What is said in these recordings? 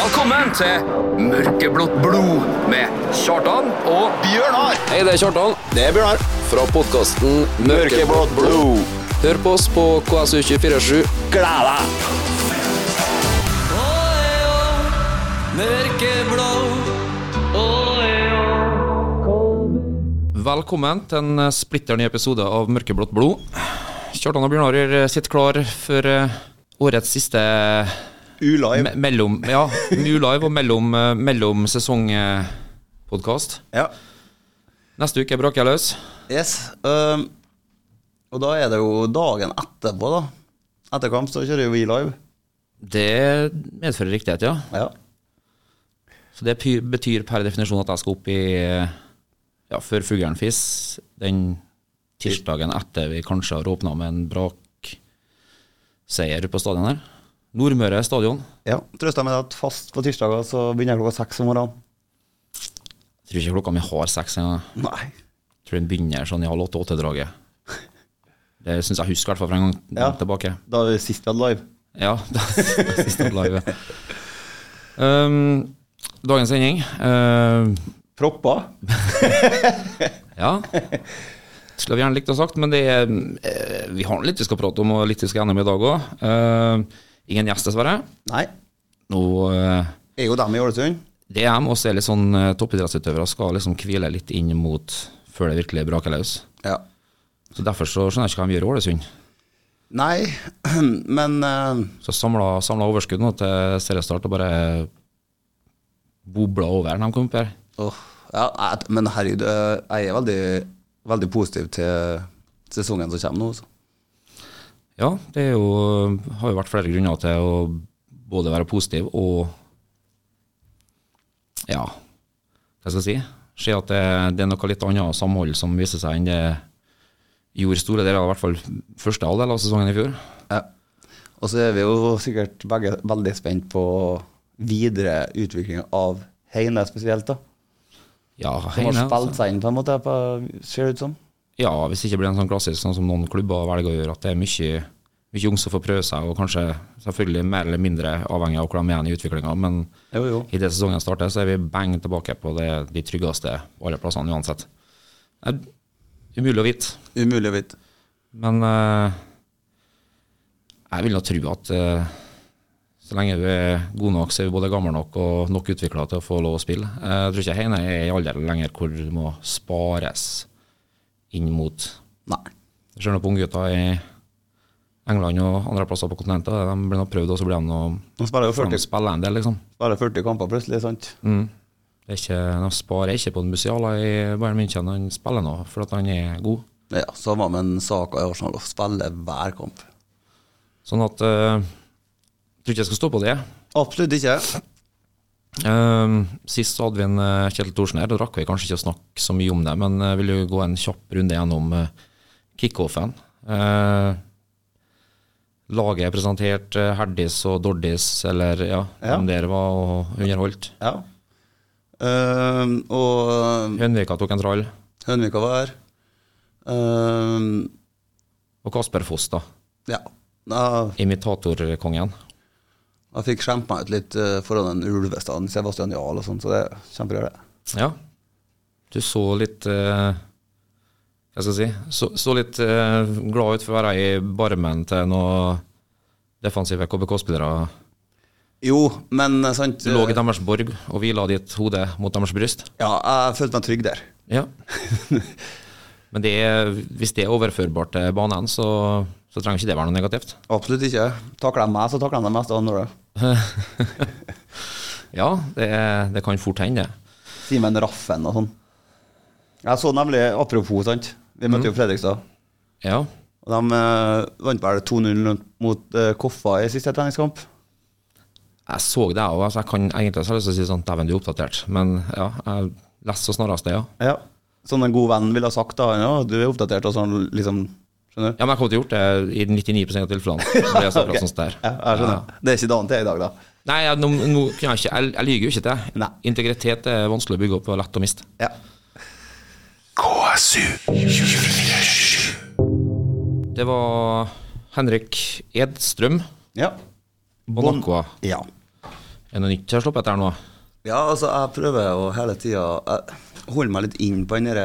Velkommen til Mørkeblått blod med Kjartan og Bjørnar Hei, det er Kjartan Det er Bjørnar fra podkasten Mørkeblått blod Hør på oss på KSU247. Gled deg Velkommen til en eh, splitter ny episode av Mørkeblått blod. Kjartan og Bjørnar eh, sitter klar for eh, årets siste me Ulive mellom... Ja, Mulive og mellom, eh, mellom sesong-podkast. Ja Neste uke braker jeg løs. Yes øhm, Og da er det jo dagen etterpå da Etter kamp så kjører vi live Det medfører riktighet, ja. Ja Så det py- betyr per definisjon at jeg skal opp i eh, ja, før fuglen fis den tirsdagen etter vi kanskje har åpna med en brakseier på stadion her. Nordmøre stadion. Ja Trøster med at fast på tirsdager så begynner jeg klokka seks om morgenen Jeg tror ikke klokka mi har seks engang. Nei Jeg Tror den begynner sånn i halv åtte-åtte-draget. Det syns jeg husker i hvert fall fra en gang Ja. tilbake. Da er det sist vi hadde live Ja, det er siste live. Um, dagens sending um, Proppa Ja. Skulle vi gjerne likt å sagt, men det er, eh, vi har litt vi skal prate om, og litt vi skal gjennom i dag òg. ingen gjest, dessverre. Nei Nå, eh, Er jo dem i Ålesund det jeg må se litt sånn eh, toppidrettsutøvere skal liksom hvile litt inn mot før det virkelig braker løs. Ja Så Derfor så skjønner jeg ikke hva de gjør i Ålesund. Nei Men eh, øhm, Så samla, samla overskudd nå til seriestart og bare bobla over når de kom opp her. Åh, ja, jeg- men herregud, øh, jeg er veldig, veldig positiv til sesongen som kommer nå. altså. Ja, det er jo, har jo vært flere grunner til å både være positiv og Ja, hva skal jeg si? Se at det, det er noe litt annet samhold som viser seg enn det gjorde store deler av i hvert fall første halvdel av sesongen i fjor. Ja. Og så er vi jo sikkert begge veldig spent på videre utvikling av Heine spesielt, da. Ja, Som har Heine, spilt seg inn, på en måte, på, ser det ut som. Ja, hvis det ikke blir en sånn klassisk sånn som noen klubber velger å gjøre, at det er mye, mye unge som får prøve seg, og kanskje selvfølgelig mer eller mindre avhengig av hvor de er igjen i utviklinga, men Jo, jo. i det sesongen starter, så er vi bang tilbake på det, de tryggeste alle plassene uansett. Det er umulig å vite, Umulig å vite. men eh, jeg vil nå tro at eh, så lenge du er god nok, så er vi både gammel nok og nok utvikla til å få lov å spille. Eh, jeg tror ikke Heine er i alder lenger hvor du må spares inn mot Nei. Ser nå på unggutta i England og andre plasser på kontinentet. De blir nå prøvd, og så blir de nå De spiller jo får de 40, spille en del, liksom. spiller 40 kamper plutselig, sant? Det er ikke, de sparer ikke på en Musiala i Bayern München. Han spiller nå for at han er god. Ja, samme med en sak i Arsenal, og spiller hver kamp. Sånn at eh, Jeg tror ikke jeg skal stå på det. Absolutt ikke. Eh, sist så hadde vi en eh, Kjetil Thorsen her. Da rakk vi kanskje ikke å snakke så mye om det, men jeg vil jo gå en kjapp runde gjennom eh, kickoffen. Eh, laget er presentert. eh, Herdis og Dordis, eller ja, Ja. hvem dere var, og underholdt. Ja. Ehm, og Hønvika tok en trall. Hønvika var her. Ehm, Og Kasper Foss, da. ja. Jeg, Imitatorkongen. jeg fikk skjemt meg ut litt eh, foran den ulvestaden Sebastian Jahl og sånn, så det er kjempegøy, det. Ja. Du så litt eh, Hva skal jeg si? Så, så litt eh, glad ut for å være i barmen til noen defensive KBK-spillere. Jo, men eh, sant Du lå i deres borg og hvila ditt hode mot deres bryst. Ja, jeg følte meg trygg der. Ja. Men det er, hvis det er overførbart til banen, så, så trenger ikke det være noe negativt. Absolutt ikke. Takler de meg, så takler de det meste andre. Ja, det, er- det kan fort hende, det. Simen Raffen og sånn. Jeg så nemlig, apropos, sant. Vi møtte jo Fredrikstad. Ja. Og de eh, vant vel 2-0 mot eh, Koffa i siste treningskamp. Jeg så det, jeg òg. Altså, jeg kan egentlig så har jeg lyst til å si sånn Dæven, du er oppdatert. Men ja, jeg leste så snarest det, ja. Ja. Som en god venn ville ha sagt da, ja, du er oppdatert og sånn, liksom. Skjønner du? Ja, men jeg kommer til å gjort det i 99 av tilfellene. Så blir jeg så Ok. akkurat sånn der. Ja, jeg skjønner. Det er ikke dagen til i dag, da. Nei, jeg, nå, nå kan jeg ikke Jeg, jeg lyver jo ikke til Nei. deg. Integritet er vanskelig å bygge opp og lett å miste. Ja. Det var Henrik Edstrøm, Ja. Monaco. ja. Er det noe nytt jeg har sluppet etter nå? Ja, altså, jeg prøver å hele tida Jeg holder meg litt inn på den der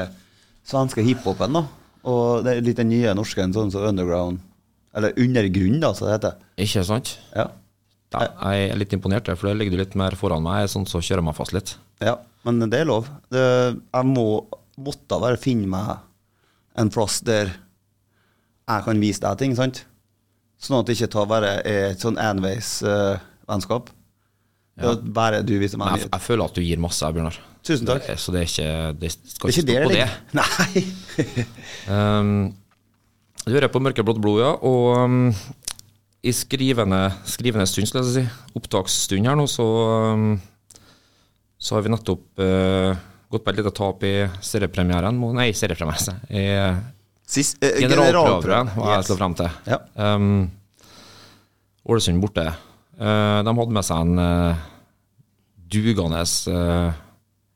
svenske hiphopen, da. Og det er litt den nye norske, en sånn som underground. Eller undergrunn, da, som det heter. Ikke sant? Ja. Ja, jeg er litt imponert, for det ligger du litt mer foran meg, sånn så kjører jeg meg fast litt. ja. Men det er lov. Det, jeg må, måtte bare finne meg en plass der jeg kan vise deg ting, sant? Sånn at det ikke tar bare er et sånn enveis-vennskap. Bare du viser Men meg jeg, jeg føler at du gir masse, Bjørnar. Eh, Tusen takk. Så det er ikke Det skal Det er ikke ikke stå der på det. ligger. Nei. Um, du hører på Mørkeblått blod, ja. Og um, i skrivende, skrivende stund, skal jeg si, opptaksstund her nå, så, um, så har vi nettopp eh, gått på et lite tap i seriepremieren mot- Nei, seriepremieren. I Sist, eh, generalprøven, hva jeg Yes. slår frem til. Ja. Um, Ålesund borte. Eh, de hadde med seg en eh, dugende uh,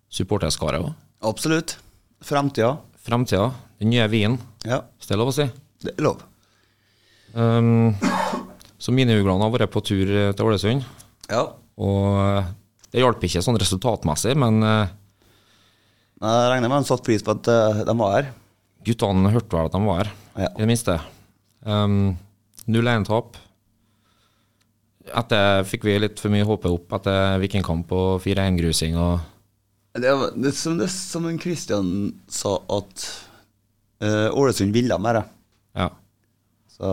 supporterskare òg. Absolutt. Fremtida. Fremtida, den nye vinen, Ja, hvis det er lov å si. det er lov. Um, så miniuglene har vært på tur eh, til Ålesund. Ja. Og eh, det hjalp ikke sånn resultatmessig, men eh, Jeg regner med han satte pris på at eh, de var her. guttene hørte vel at de var her, Ja. i det minste. Um, 0-1-tap. Etter fikk vi litt for mye håpet opp etter vikingkamp og 4-1-grusing og Det var det, er som, det, er som en Christian sa, at eh, Ålesund ville mer. Ja. Så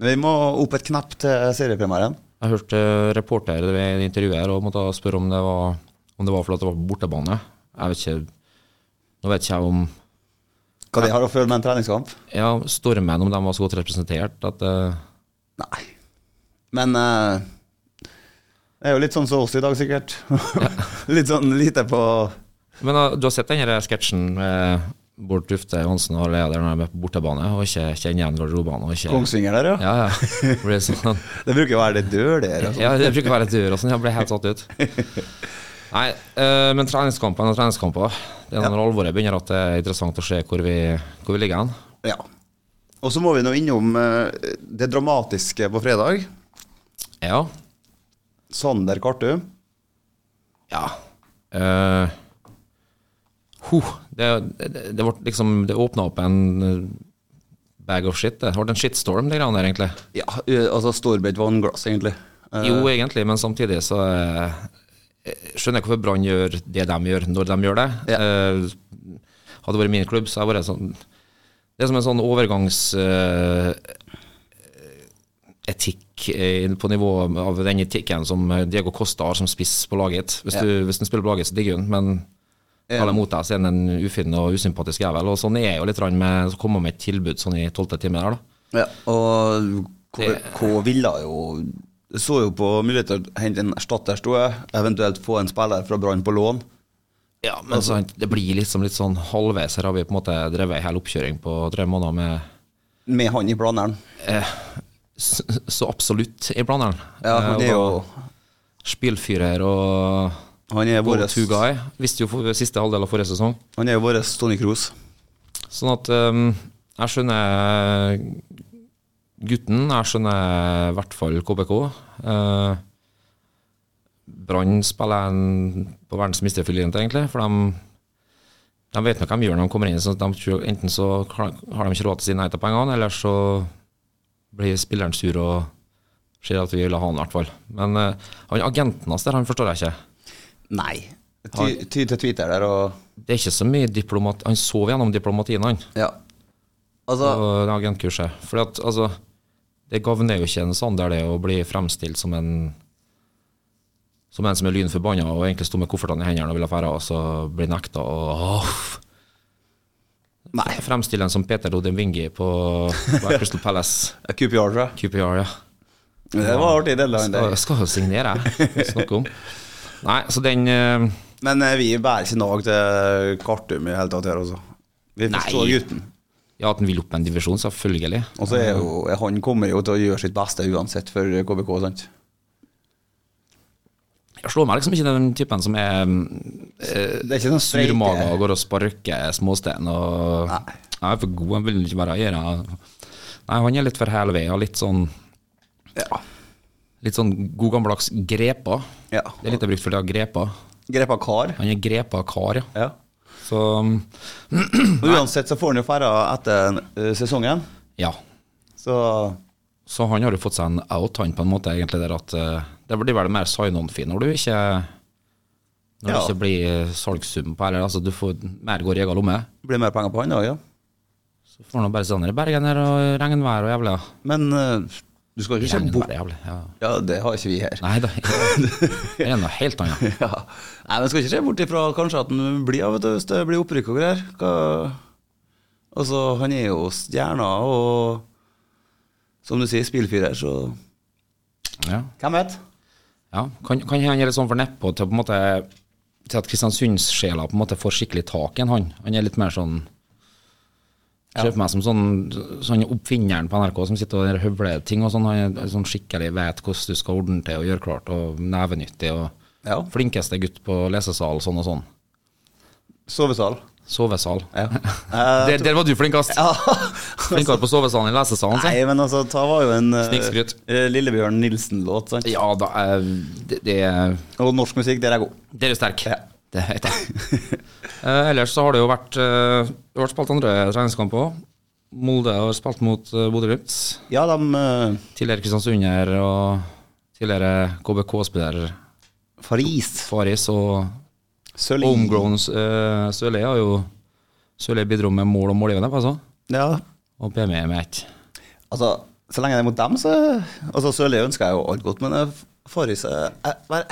vi må opp et knepp til seriepremieren. Jeg hørte reporter ved intervjuet her og måtte spørre om det var om det var fordi det var på bortebane. Jeg vet ikke Nå vet ikke jeg om Hva de har å føle med en treningskamp? Ja, Stormen, om de var så godt representert at eh, Nei. Men eh, det er jo litt sånn som oss i dag, sikkert. litt sånn lite på Men uh, du har sett den her sketsjen med Bård Tufte Johansen og leder når de er på bortebane og ikke kjenner igjen garderobene? og ikke- Kongsvinger der, ja. Ja, ja. Det blir sånn, Det bruker jo å være litt døligere. ja, det bruker å være et dør og sånn. Jeg ble helt satt ut. Nei, eh, men treningskampene og treningskamper. Det er når alvoret begynner at det er interessant å se hvor vi, hvor vi ligger hen. Ja. Og så må vi nå innom eh, det dramatiske på fredag. Ja. Sander Kartum. Ja. Eh, ho, det, det, det ble liksom Det åpna opp en eh, bag of shit. Det ble en shitstorm, de greiene der, egentlig. Ja, ø, altså Storbeit vannglass, egentlig. Eh, Jo, egentlig, men samtidig så eh, skjønner jeg hvorfor Brann gjør det de gjør, når de gjør det. Eh, hadde det vært min klubb, så hadde jeg vært sånn Det er som en sånn eh, overgangsetikk eh, på nivå av den etikken som Diego Costa har som spiss på laget. Hvis, du, hvis han spiller på laget, så digger han, men Ja. alle mot deg, så er han en ufin og usympatisk jævel. Og sånn er jeg jo litt grann med å komme med et tilbud sånn i tolvte time der, da. ja, og K, K ville jo Så jo på muligheter til å hente en erstatter, sto jeg. Eventuelt få en spiller fra Brann på lån. Ja, men sant, det blir liksom litt sånn halvveis. Her har vi på en måte drevet en hel oppkjøring på tre måneder med eh, Med han i blanderen. s- så absolutt i blanderen. Ja, Eh, han er jo og Spillfyrer og Han er go vår to guy. Visste jo for siste halvdel av forrige sesong. Han er jo vår Tony Cruz. Sånn at eh, jeg skjønner gutten. Jeg skjønner i hvert fall KBK. Eh, Brann spiller en på verdens mesterfilient, egentlig. For de, de vet nok hva de gjør når de kommer inn. Så de, tror- enten så har de ikke råd til å si nei til pengene, eller så blir spilleren sur og ser at vi vil ha han, i hvert fall. Men eh, han agenten hans der, han forstår jeg ikke. Nei. Ty, ty til Twitter der og Det er ikke så mye diplomat... Han sov gjennom diplomatien, han. Ja. Altså på det agentkurset. Fordi at, altså, det gagner jo ikke en Sander det å bli fremstilt som en som en som er lynforbanna og egentlig sto med koffertene i hendene og ville fære, og så blir nekta og åh. Nei. Fremstille en som Peter Odemwingi på på Crystal Palace QPR, tror jeg. QPR, ja. Det var artig, det landet der. Skal, skal jo signere, jeg. Snakke om. Nei, så den eh, Men eh, vi bærer ikke nag til Kartum i hele tatt her, altså. Vi forstår Nei. gutten. Ja, at den vil opp en divisjon, selvfølgelig. Og så er jo, er han kommer jo til å gjøre sitt beste uansett for KBK, sant? Jeg slår meg liksom ikke den typen som er Det er ikke sånn streite- surmaga og går og sparker småstein. Og Nei. jeg er for god, han vil ikke være eier. Nei, han er litt for helvig og litt sånn Ja. Litt sånn god gammeldags grepa. Ja. Det er litt jeg brukt for det, grepa. Grepa kar. Han er grepa kar, ja. Ja. Så Men Uansett så får han jo ferda etter eh, sesongen, ja. så Så han har jo fått seg en out, han på en måte, egentlig, der at eh, det blir vel mer sign-on-fee når du ikke når Ja. det ikke blir salgssum på her. Altså, du får mer går i egen lomme. blir det mer penger på han òg, ja. Så får han bare sånn der, Bergener og regnvær og jævla Men eh, du skal ikke se bort Regnvær, jævla. Ja. Ja, det har ikke vi her. Nei da, det er noe helt annet. Ja. Nei, men skal ikke se bort ifra kanskje at han blir ja, vet du, hvis det blir opprykk og greier. Hva... Altså, han er jo stjerna, og som du sier, spillfyrer, så Ja. Hvem vet? Ja, kan, kan han gjøre sånn for neppe til, på en måte, til at Kristiansundssjela på en måte får skikkelig tak i en, han? Han er litt mer sånn Jeg ser for meg som sånn, sånn oppfinneren på NRK som sitter og høvler ting og sånn. Han er sånn skikkelig vet hvordan du skal ordne til og gjøre klart og nevenyttig og Ja. flinkeste gutt på lesesal sånn og sånn. Sovesal. Eh, Sovesal. Ja. der, der var du flinkest! Flinkere på sovesalen enn lesesalen, Nei, si. men altså, ta var jo en eh, Snikskryt. eh, Lillebjørn Nilsen-låt, sant? Ja da, eh, det, det er Og norsk musikk, der er god. Dere er sterk. Ja. Det vet jeg. eh, ellers så har det jo vært eh, Det har vært spilt andre treningskamper òg. Molde har spilt mot eh, Bodø-Glimt. Ja, de eh, Tidligere Kristiansunder og tidligere KBK-spiller Faris. Faris og Sølin. homegrown eh, Sørli har jo Sørli bidro med mål og målgivende, altså. Ja. Og PME med ett. Altså, så lenge det er mot dem, så Altså, Sørli ønsker jeg jo alt godt, men eh, Faris eh, jeg, bare-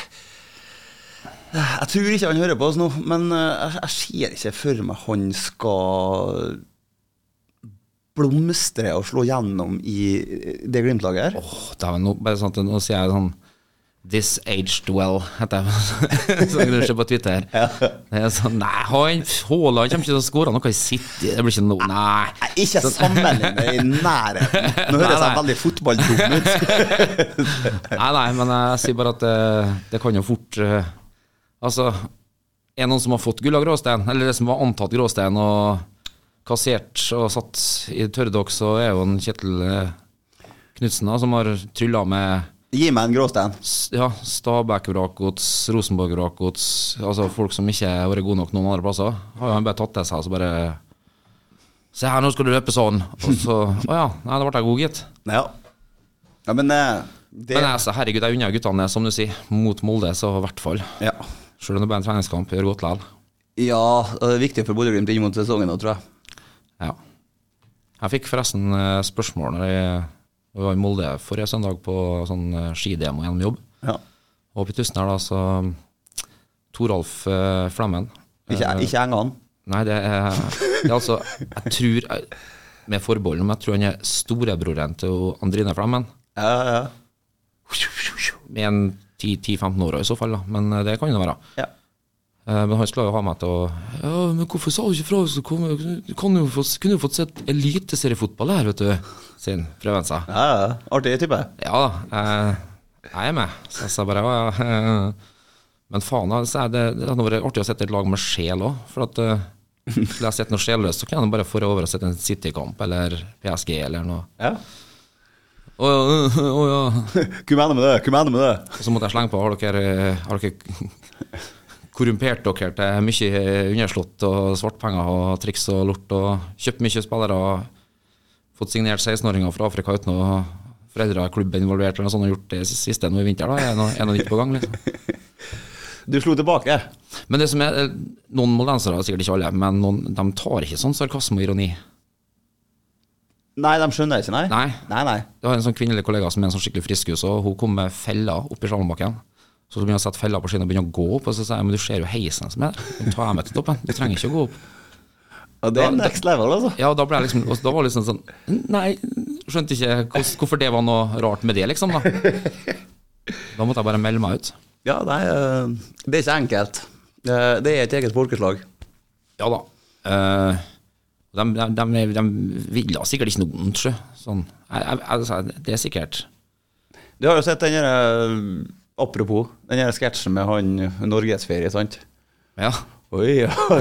jeg tror ikke han hører på oss nå, men eh, jeg, jeg ser ikke for meg han skal blomstre og slå gjennom i eh, det Glimt-laget her. Åh, dæven, nå, bare sånn, at- nå sier jeg sånn This aged well, heter jeg. Sånn du ser på Twitter. Det er sånn, nei, han Haaland kommer ikke til å skåre noe i City. Det blir ikke noe Nei. Nei, ikke sammenlign det i nærheten. Nå høres Nei, jeg veldig fotballdum ut. Nei, nei, men jeg sier bare at det, det kan jo fort eh, Altså, er det noen som har fått gull av gråstein, eller det som var antatt gråstein og kassert og satt i tørrdokk, så er jo en Kjetil eh, Knutsen, som har trylla med Gi meg en gråstein. s- ja, Stabæk-vrakgods, Rosenborg-vrakgods, altså folk som ikke har vært gode nok noen andre plasser, har jo han bare tatt til seg og så bare Se her, nå skal du løpe sånn! Og så Å ja, nei, da ble jeg god, gitt. Ja. ja men eh, det Men altså, herregud, jeg unner guttene, som du sier, mot Molde, så i hvert fall. ja. Selv om det bare er en treningskamp, gjør godt likevel. ja, det er viktig for Bodø-Glimt inn mot sesongen nå, tror jeg. Ja. Jeg fikk forresten eh, spørsmål når jeg når jeg var i Molde forrige søndag på sånn eh, skidemo gjennom jobb. Ja. Og oppe i Tusen her, da, så Toralf eh, Flemmen Ikke, ikke engene. Nei, det er, det er altså Jeg tror, jeg- med forbehold, men jeg tror han er storebroren til Andrine Flemmen. Ja, ja. Med en 10-15 år i så fall, da. Men eh, det kan jo være. ja. Eh, Men han skulle jo ha meg til å Ja, men hvorfor sa du ikke fra? Så kom, du kan jo få, kunne jo fått sett eliteseriefotball her, vet du. Sin prøver han seg. ja, ja. Artig type. Ja da, eh, jeg er med. Så jeg sa bare ja, ja. eh, Men faen, altså, det, det hadde vært artig å sette et lag med sjel òg. For at eh, skulle jeg sett noe sjelløst, så kunne jeg bare få over og sett en City-kamp eller PSG eller noe. Ja. Å ja, å ja. Hva mener du med det? Hva mener du med det? Og så måtte jeg slenge på Har dere, eh, har dere korrumpert dere til mye underslått og svartpenger og triks og lort og kjøpt mye spillere og fått signert 16-åringer fra Afrika uten å foreldre i klubben involvert eller noe sånt og gjort det siste nå i vinter? da, Er det noe, er det noe nytt på gang? liksom? Du slo tilbake. Men det som er, eh, Noen moldensere, sikkert ikke alle, men noen, de tar ikke sånn sarkasme og ironi. Nei, de skjønner ikke, nei? Nei. Nei, nei. Jeg har en sånn kvinnelig kollega som er en sånn skikkelig friskus, og hun kom med feller opp i slalåmbakken. Så begynner hun å sette feller på skiene og begynner å gå opp, og så sier jeg men du ser jo heisen som er der, den tar jeg med til toppen, du trenger ikke å gå opp. Og det er next level, altså. Ja, og da ble jeg liksom, og da var det liksom sånn, nei, skjønte ikke hvordan- hvorfor det var noe rart med det liksom da. Da måtte jeg bare melde meg ut. Ja, nei, eh, det er ikke enkelt. Eh, Det er et eget folkeslag. Ja da. Eh, de, de, de, de ville sikkert ikke noe vondt, sjø. Sånn. Jeg, jeg, altså, det er sikkert. Du har jo sett den eh, der, Apropos, den der sketsjen med han norgesferie, sant? Ja, Oi, jeg har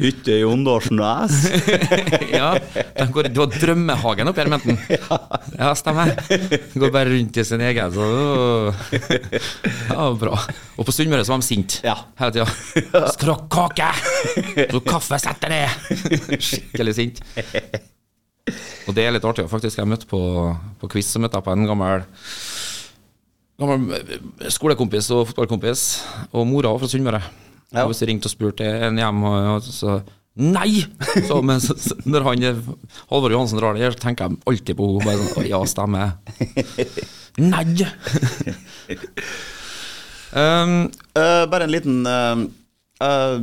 hytte i Åndalsnes. ja, de går, du har drømmehagen oppe her i Menten. Ja, stemmer. De går bare rundt i sin egen. Så, ja, bra. Og på Sunnmøre så var de sinte Ja. hele tida. Skal du ha kake? Skal du ha kaffe? Sett deg ned! Skikkelig sint. Og det er litt artig, faktisk. Jeg møtte på, på quiz så møtte jeg på en gammel gammel eh, skolekompis og fotballkompis, og mora var fra Sunnmøre. Ja. Og Hvis jeg ringte og spurte en hjem, og- og så Nei! Så, men så, så, når han, eh, Halvor Johansen drar det her, så tenker jeg alltid på henne. Bare sånn, «Å, ja, stemmer. Nei! um, Eh, bare en liten eh, eh,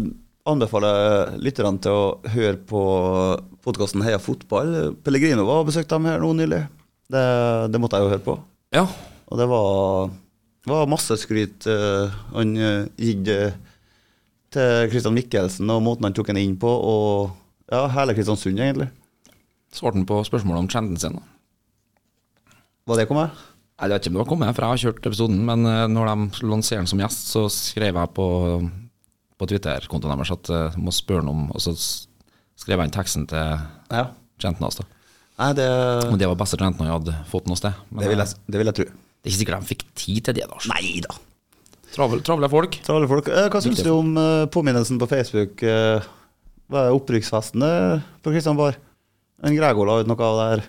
Anbefaler lytterne til å høre på podkasten Heia fotball. Pellegrino var og besøkte dem her nå nylig. Det, det måtte jeg jo høre på. ja. Og det var, var masse skryt eh, han uh, gitt eh, til Christian Michelsen, og måten han tok han inn på, og ja, hele Kristiansund, egentlig. Svarte han på spørsmålet om trenden sin. da. Var det kommet? Jeg vet ikke om det var kommet, for jeg har kjørt episoden, men eh, når de lanserer den som gjest, så skrev jeg på, på Twitter-kontoen deres at eh, må spørre noe om, og så s- skrev jeg inn teksten til Ja. Trenten hans. da. Nei, det, Og det var beste Trenten han hadde fått noe sted. Men eh, det, vil jeg, det vil jeg tro. det er ikke sikkert de fikk tid til det. da. Nei da. Travel, travle folk. Til alle folk. Eh, Hva syns Viktig. du om eh, påminnelsen på Facebook? eh, Hva er opprykksfesten eh, på Kristian Bar? En Gregor la ut noe av det her.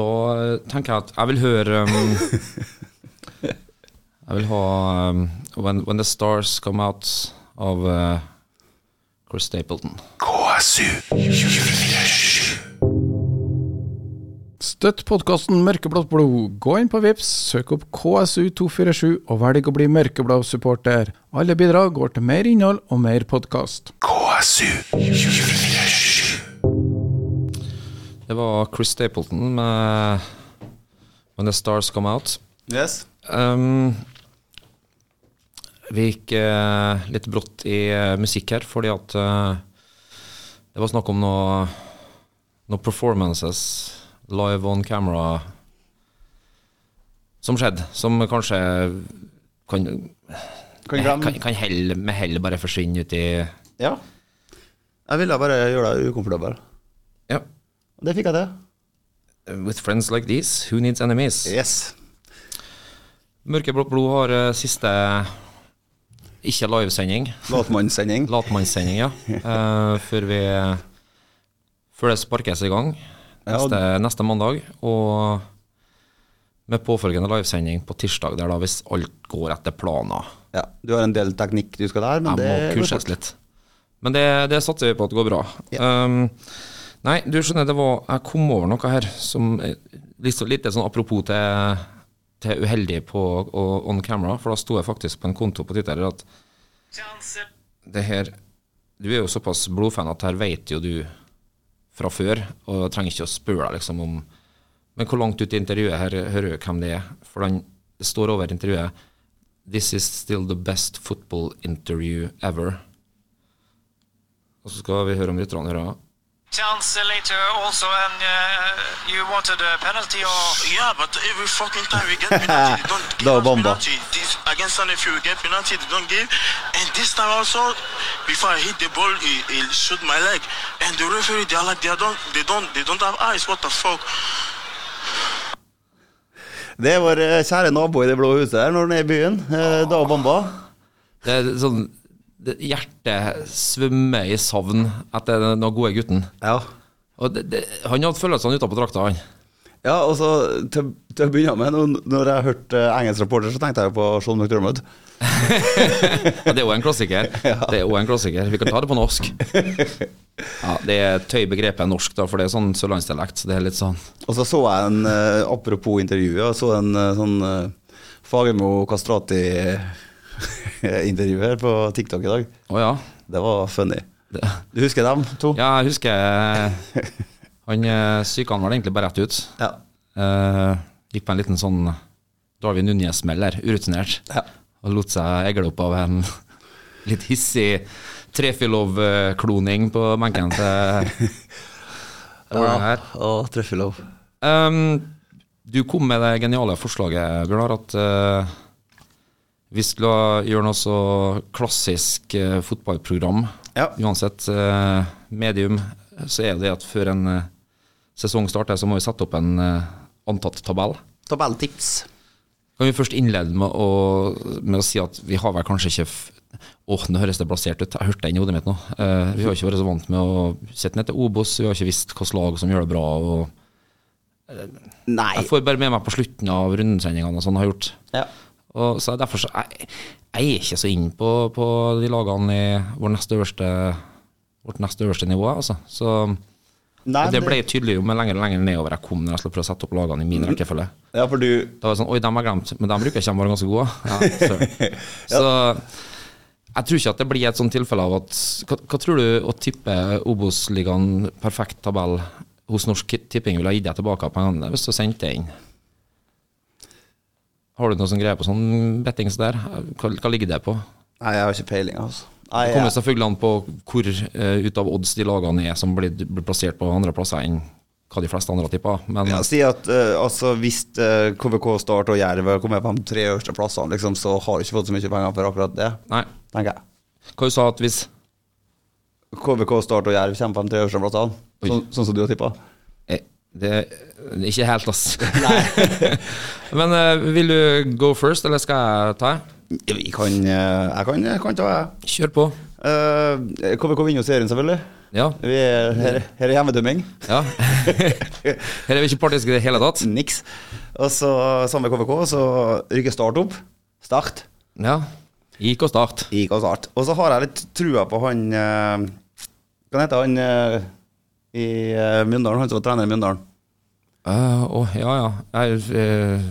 Da eh, tenker jeg at jeg vil høre um, Jeg vil ha um, when, when the Stars Come Out av eh, Chris Stapleton. Støtt podkasten Mørkeblått blod. Gå inn på Vips, søk opp KSU247 og velg å bli mørkeblå supporter. Alle bidrag går til mer innhold og mer podkast. Det var Chris Stapleton med When the Stars Come Out. Yes. Um, vi gikk eh, litt brått i eh, musikk her, fordi at eh, det var snakk om noe, noe performances live on camera som skjedde, som kanskje kan, Kan glemme. Eh, kan, kan hell, med hell bare forsvinne ut i Ja. Jeg ville bare gjøre deg ukomfortabel. Ja. Og Det fikk jeg til. With friends like these, who needs enemies? Yes. Mørkeblått blod har eh, siste ikke livesending. Latmannssending. Latmannssending, ja. Eh, før, vi, før det sparkes i gang Ja, og- neste, neste mandag. Og med påfølgende livesending på tirsdag, der da hvis alt går etter planen. Ja, du har en del teknikk du skal lære, men Jeg det må går kurses fort. litt. Men det, det satser vi på at går bra. Um, nei, du skjønner, det var Jeg kom over noe her som eh, litt, så- litt sånn apropos til, til uheldig på og on camera, for da sto jeg faktisk på en konto på Twitter at det her Du er jo såpass blodfan at her vet jo du fra før, og jeg trenger ikke å spørre deg liksom om Men hvor langt ut i intervjuet her hører du hvem det er? For den, det står over intervjuet This is still the best football interview ever. Og så skal vi høre om rytterne hører. chance later also and uh, you wanted a penalty or Yeah, but every fucking time we get penalty, they don't give No, us Bamba. penalty. This, against Sanefi, we get penalty, they don't give. And this time also, before I hit the ball, he, he shoot my leg. And the referee, they are like, they don't, they don't, they don't have eyes. What the fuck? Det er vår eh, kjære nabo i det blå huset her når han er i byen. eh, Da og Bamba. Det er sånn det, Hjertet svømmer i savn etter den den gode gutten. Ja. Og det, det, han hadde følelsene utapå drakta, han. Ja, og så til, til å begynne med, nå- når jeg hørte eh, engelsk reporter, så tenkte jeg jo på Sean McDermott. Ja, det er jo en klassiker. Det er jo en klassiker. Vi kan ta det på norsk. Ja, det er tøy begrepet norsk, da, for det er sånn sørlandsdialekt. Så det er litt sånn Og så så jeg en, eh, apropos intervjuet, jeg så en eh, sånn eh, Fagermo Kastrati-intervju her på TikTok i dag. Å ja. Det var funny. Det, Du husker dem to? ja, jeg husker Han eh, syka han vel egentlig bare rett ut. Ja. Eh, gikk på en liten sånn Darwin Núñez-smell der, urutinert. Ja. Og lot seg egle opp av en litt hissig Trefilov-kloning på benken til Darwin her. Og Treffelov. Ehm, du kom med det geniale forslaget, Bjørnar, at eh, Vi skulle gjøre noe så klassisk eh, fotballprogram. Ja. Uansett eh, medium, så er det at før en eh, sesong starter, så må vi sette opp en eh, antatt tabell. Tabelltips. Kan vi først innlede med å, med å si at vi har vel kanskje ikke f- Åh, nå høres det blasert ut. Jeg hørte det inni hodet mitt nå. Eh, vi har ikke vært så vant med å sitte ned til Obos, vi har ikke visst hvilket lag som gjør det bra. Og eh, Nei. jeg får bare med meg på slutten av rundesendingene og sånn har gjort. Ja. Og så er derfor så jeg, jeg er ikke så inn på, på de lagene i vår neste øverste, vårt nest øverste nivå. Altså. Så, Nei, og det ble men- tydelig jo med lenger og lenger nedover jeg kom når jeg skulle prøve å sette opp lagene i min Mm. rekkefølge. Ja, for du Da var det sånn, Oi, dem har jeg glemt, men dem bruker jeg ikke, de var ganske gode. Ja, søren. Så jeg tror ikke at det blir et sånt tilfelle av at Hva, hva tror du å tippe Obos-ligaen perfekt tabell hos Norsk Tipping ville ha gitt deg tilbake av pengene hvis du sendte det inn? Har du noe sånn greie på sånn bettings der? Hva, hva ligger det på? Nei, jeg har ikke peiling, altså. Nei, Det kommer jeg, selvfølgelig an på hvor eh, ut av odds de lagene er som blir, blir plassert på andre plasser enn hva de fleste andre har tippa. Men ja, si at eh, altså, hvis eh, KVK Start og Jerv kommer på de tre øverste plassene, liksom, så har jeg ikke fått så mye penger for akkurat det, nei, tenker jeg. hva du sa at hvis KVK Start og Jerv kommer på de tre øverste plassene, Oi. sånn, sånn som du har tippa. Eh, Det det er ikke helt, ass. Men eh, vil du go first, eller skal jeg ta? Jeg kan, eh, jeg kan, jeg kan ta, jeg. Kjør på. Eh, KVK vinner jo serien, selvfølgelig. Ja. Vi er, her, her er hjemmedømming. ja. Her er vi ikke partiske i det hele tatt. Niks. Og så samme KVK, så rykker Start opp. Start. Ja. Gikk og start. Gikk og Start. Og så har jeg litt trua på han eh, Hva heter han eh, i eh, Mjøndalen? Han som var trener i Mjøndalen. Eh, Å, ja, ja. Jeg, eh,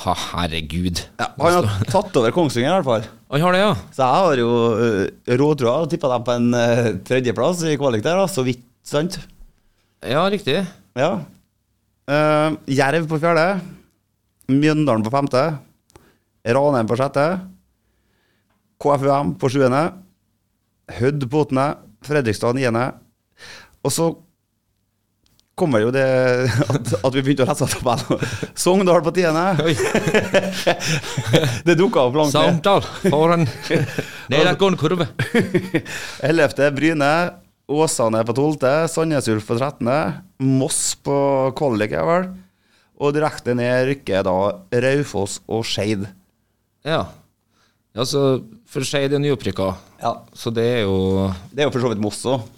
ha, herregud. Ja, han har tatt over Kongsvinger, i hvert fall. Han har det, ja. Så jeg har jo uh, råtrua og tippa dem på en eh, tredjeplass i kvalik der, da, så vidt, sant? Ja, riktig. Ja. Eh, Jerv på fjerde. Mjøndalen på femte. Ranheim på sjette. KFUM på sjuende. Hødd på åttende. Fredrikstad niende. Og så kommer jo det at, at vi begynte å lese tabellen. Sogndal på tiende. Oi, Det dukka opp langt ned. Samtale foran nedadgående kurve. Ellevte Bryne. Åsane på tolvte. Sandnes Ulf på trettende. Moss på kvalik, er vel. Og direkte ned rykker da Raufoss og Skeid. Ja. ja, så for Skeid er nyopprykka, Ja. så det er jo Det er jo for så vidt Moss òg.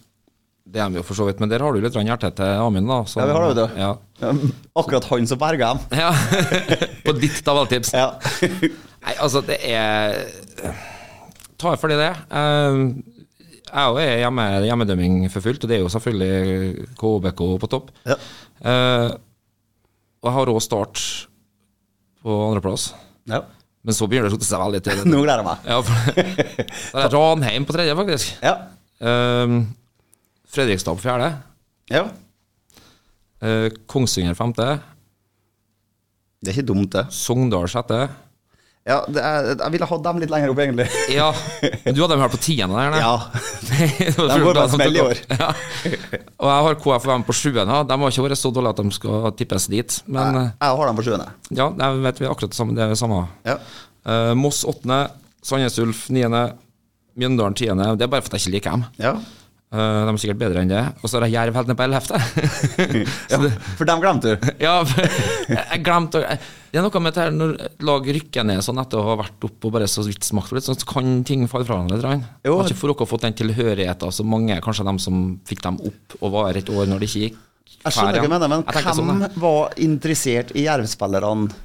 Det er vi jo for så vidt, men der har du litt grann hjerte til Amund, da. så- Ja, vi har det, vet du. Ja. Akkurat han som berga dem. ja. På ditt tabelltips. Ja. Nei, altså, det er Ta for det det. er. Eh, Jeg òg er hjemme, hjemmedømming for fullt, og det er jo selvfølgelig KBK på topp. Ja. Eh, og jeg har òg Start på andreplass, men så begynner det å slutte seg veldig til. Nå gleder jeg meg. Ja, for, der er Ranheim på tredje, faktisk. Ja. Eh, Fredrikstad på fjerde. ja. Eh, Kongsvinger femte. Det er ikke dumt, det. Sogndal sjette. Ja, det er, Jeg ville hatt dem litt lenger opp, egentlig. Ja, men du hadde dem her på tiende der, nei? Ja. Det var De fullt går av på dem smell i som år. tok opp. Ja. Og jeg har KFUM på sjuende. De har ikke vært så dårlige at de skal tippes dit. Men Jeg har dem på sjuende. eh, ja, jeg vet vi er akkurat det samme. Det er det samme. Ja. Eh, Moss åttende, Sandnes Ulf niende, Mjøndalen tiende. Det er bare fordi jeg ikke liker dem. Ja. Eh, de er sikkert bedre enn det. Og så er det Jerv helt ned på ellevte. ja. For dem glemte du. Ja, for- jeg glemte å- Det er noe med det her når lag rykker ned sånn etter å ha vært oppe og bare så vidt smakt på litt, sånn, så kan ting falle fra hverandre litt. grann. Jo. Har ikke for dere fått den tilhørigheten som mange, kanskje dem som fikk dem opp og var her et år når det ikke gikk? Jeg skjønner Færre. ikke hva du mener, men Jeg tenker hvem sånn, jeg. var interessert i Jerv-spillerne?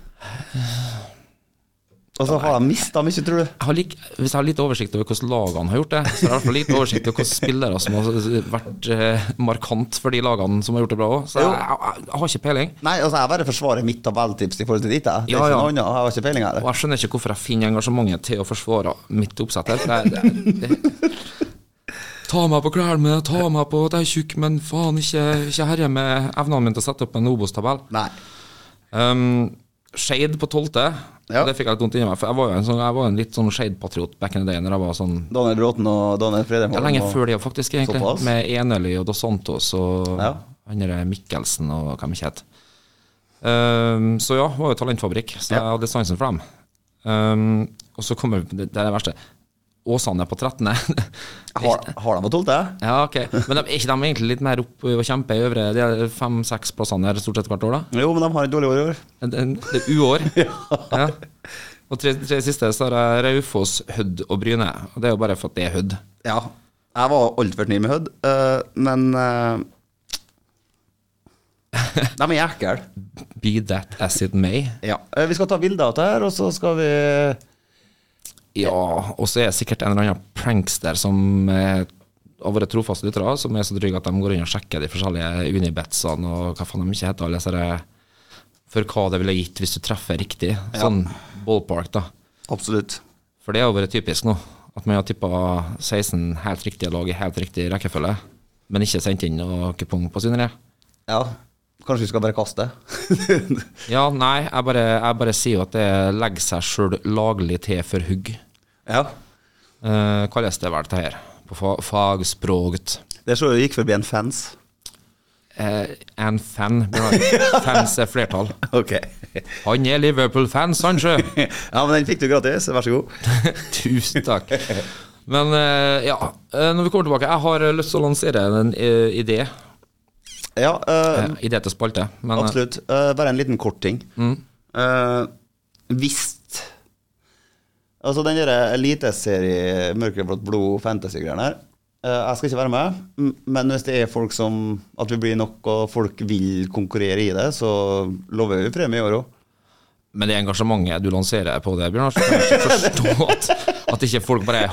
Og så har de mista mye, tror du? jeg har lik, hvis jeg har litt oversikt over hvordan lagene har gjort det, så har jeg i hvert fall litt oversikt over hvilke spillere som har vært eh, markant for de lagene som har gjort det bra òg. Så jeg, jeg, jeg har ikke peiling. Nei, altså, jeg bare forsvarer mitt tabelltips i forhold til ditt. Jeg. Det er Ja, ikke ja. noe annet. Jeg har ikke peiling her. Og jeg skjønner ikke hvorfor jeg finner engasjementet til å forsvare mitt oppsett her. Det, er- det, det. Ta meg på klærne, ta meg på at jeg er tjukk, men faen, ikke, ikke herje med evnene mine til å sette opp en Obos-tabell. Nei. Um, Skeid på tolvte. Ja. Det fikk jeg litt vondt inni meg, for jeg var jo en, sånn, jeg var en litt sånn Skeid-patriot back in the day. Når jeg var sånn Daniel Bråten og Daniel Fredheim. ja, Lenge før de, faktisk, egentlig. Såpass? Med Enøli og Dos Santos og Ja. han der Mikkelsen og hva de ikke het. Um, så Ehm, ja, var jo talentfabrikk, så jeg Ja. hadde sansen for dem. Um, og så kommer Det det er det verste. Åsane er på 13. Har, har de på tolvte? ja, ok. Men de, er ikke de egentlig litt mer opp og kjempe i øvre De er fem-seks plassene her stort sett hvert år, da? Jo, men de har et dårlig år i år. En- en- Det er uår. ja. Og tre, tre siste så har jeg Raufoss, Hødd og Bryne. Og det er jo bare for at det er Hødd. Ja. Jeg var altfor fornøyd med Hødd, eh, men eh, De er ekle. Be that as it may. Ja. Eh, Vi skal ta bilder av det her, og så skal vi Ja, og så er det sikkert en eller annen prankster som eh, har vært trofaste lyttere, som er så dryg at de går inn og sjekker de forskjellige unibetsene og hva faen de ikke heter, alle disse der, for hva det ville gitt hvis du treffer riktig. Sånn ballpark, da. Absolutt. For det har vært typisk nå, at man har tippa 16 helt riktige lag i helt riktig rekkefølge, men ikke sendt inn noe kupong på sine. Ja. Kanskje vi skal bare kaste? Ja, nei, jeg bare, jeg bare sier jo at det legger seg sjøl laglig til for hugg. ja. Eh, kalles det vel det her, på fa fagspråket. Det så jo gikk forbi en fans. Eh, en fan. beklager. Fans er flertall. Ok. Han er Liverpool-fans, han sjø! Ja, men den fikk du gratis, vær så god. Tusen takk. Men eh, ja, eh, når vi kommer tilbake Jeg har eh, lyst til å lansere en eh, idé. Ja, eh, Eh, idé til spalte. Men eh, absolutt. Eh, bare en liten kort ting. Eh, Hvis Altså, den der eliteserie Mørkeblått blod fantasy-greiene her eh, Jeg skal ikke være med, m- men hvis det er folk som At vi blir nok, og folk vil konkurrere i det, så lover vi premie i år òg. Men det engasjementet du lanserer på det, Bjørnar, så kan jeg ikke forstå at, at ikke folk bare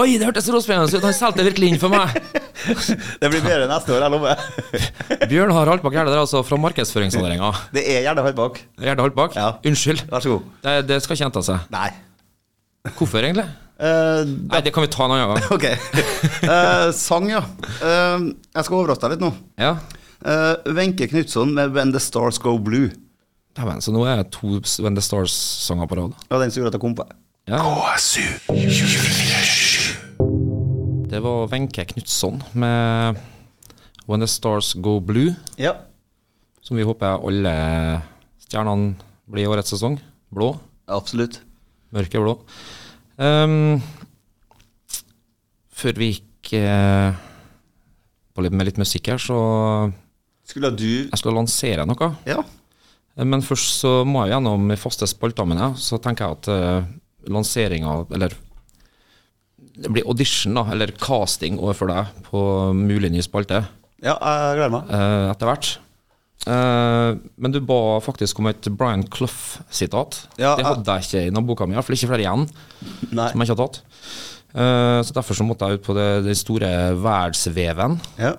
Oi, det hørtes råspennende ut! Han solgte virkelig inn for meg! Det blir bedre neste år, jeg lover. Bjørn har Haltbakk Gjerde der, altså, fra markedsføringsavdelinga. Det er gjerne høyt bak. Gjerde Haltbakk, Ja. unnskyld. Vær så god. Det, det skal ikke gjenta seg. Nei. Hvorfor, egentlig? Eh, Nei, det kan vi ta en annen gang. ok. Eh, sang, ja. Eh, jeg skal overraske deg litt nå. Ja. Eh, Wenche Knutson med 'When the Stars Go Blue'. Dæven, så nå er det to When the Stars-sanger på rad. Det var den som gjorde at jeg kom på det. Ja. Det var Wenche Knutson med When the Stars Go Blue, Ja. som vi håper alle stjernene blir i årets sesong. Blå. Absolutt. Mørkeblå. Ehm, før vi gikk eh, på litt, med litt musikk her, så Skulle du Jeg skal lansere noe. Ja. Men først så må jeg gjennom faste spalter mine. Så tenker jeg at uh, lanseringa, eller det blir audition, da, eller casting overfor deg på mulig ny spalte Ja, jeg gleder meg. eh, etter hvert. Eh, men du ba faktisk om et Brian Clough-sitat. Ja, det hadde jeg ikke i naboboka mi, iallfall ikke flere igjen. Nei. Som jeg ikke har tatt. Eh, så derfor så måtte jeg ut på det, den store verdensveven Ja.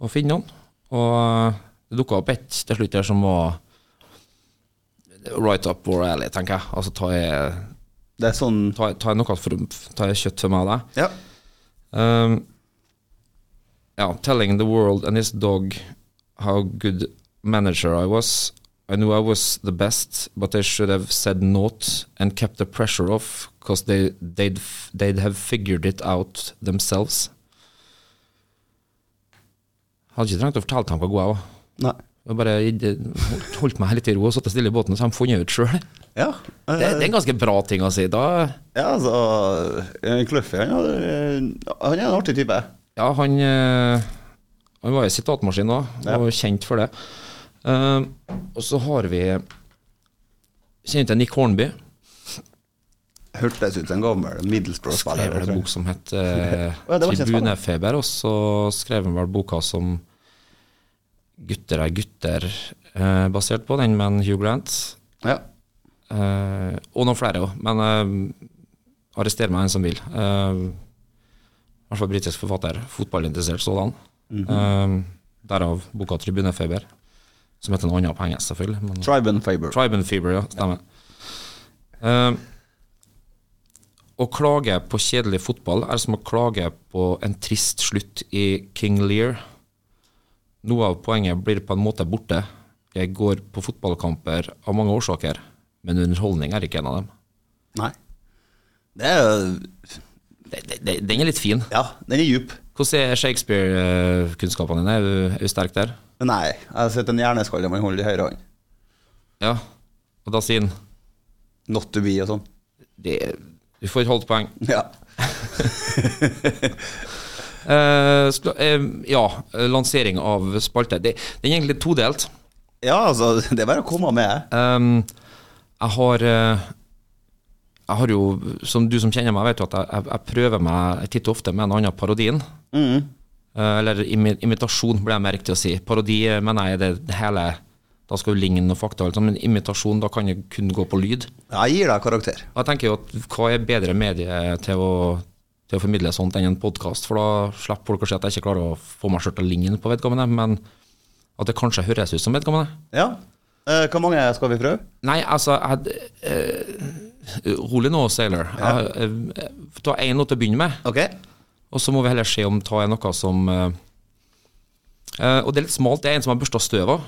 og finne noen. Og det dukka opp ett til slutt der som var right up or alley, tenker jeg. Altså ta i- Det er sånn ta, i- ta i noe for, ta i kjøtt for meg og deg. Ja. Um, ja, telling the world and his dog how good manager I was. I knew I was the best, but they should have said naught and kept the pressure off, because they, they'd, f- they'd have figured it out themselves. Hadde ikke trengt å fortelle dem hvor god jeg var. Nei. Jeg bare holdt- holdt meg litt i ro og satt stille i båten, så har de funnet ut sjøl. Ja. Det, det Eh, er en ganske bra ting å si. Da, ja, altså eh, Cluffy, han, hadde- eh, han er en artig type. ja, han, eh, han var jo sitatmaskin òg, og var kjent for det. Eh, og så har vi Kjenner til Nick Hornby. Hørtes ut som en gammel Skrev vel Middlesbrough-spiller. en tror jeg. bok som het eh, Å, ja, det var kjent for meg. 'Tribunefeber', og så skrev han vel boka som 'Gutter er gutter', eh, basert på den med en Hugh Grant. Ja. Eh, og noen flere òg, men eh, arrester meg en som vil. Eh, I hvert fall britisk forfatter. Fotballinteressert sådan. Eh, derav boka 'Tribunefeber', som heter noe annet på engelsk, selvfølgelig. Men Tribe and Faber. Tribe and Fever, ja. Stemmer. Eh, å klage på kjedelig fotball er som å klage på en trist slutt i King Lear. Noe av poenget blir på en måte borte. Jeg går på fotballkamper av mange årsaker, men underholdning er ikke en av dem. Nei. Det er jo Det- det- det- Den er litt fin. Ja, den er djup. Hvordan er Shakespeare-kunnskapene dine? Er du- Er du sterk der? Nei, jeg har sett en hjerneskalle man holder i høyre hånd. Ja. Og da sier han Not to be og sånn. det, Du får et halvt poeng. Ja. Eh, spla- eh, ja, lansering av spalte. Det, den er egentlig todelt. ja, altså, det er bare å komme med. Ehm, jeg har eh, Jeg har jo, som du som kjenner meg, vet jo at jeg, jeg, jeg prøver meg titt og ofte med en annen parodien. Eh, eller imi, imitasjon, blir jeg mer riktig å si. Parodi eh, mener jeg er det hele Da skal du ligne noe fakta, og alt sånt, men imitasjon, da kan jeg kun gå på lyd. Jeg gir deg karakter. Og Jeg tenker jo at hva er bedre medie til å, til å formidle sånt enn en podkast, for da slipper folk å si at jeg ikke klarer å få meg selv til å ligne på vedkommende, men at det kanskje høres ut som vedkommende. Ja. Eh, hvor mange skal vi prøve? Nei, altså jeg, eh, Rolig nå, Sailor. Jeg, eh, ta én nå til å begynne med, Ok. og så må vi heller se om ta er noe som eh, eh, Og det er litt smalt. Det er en som har børsta støv av.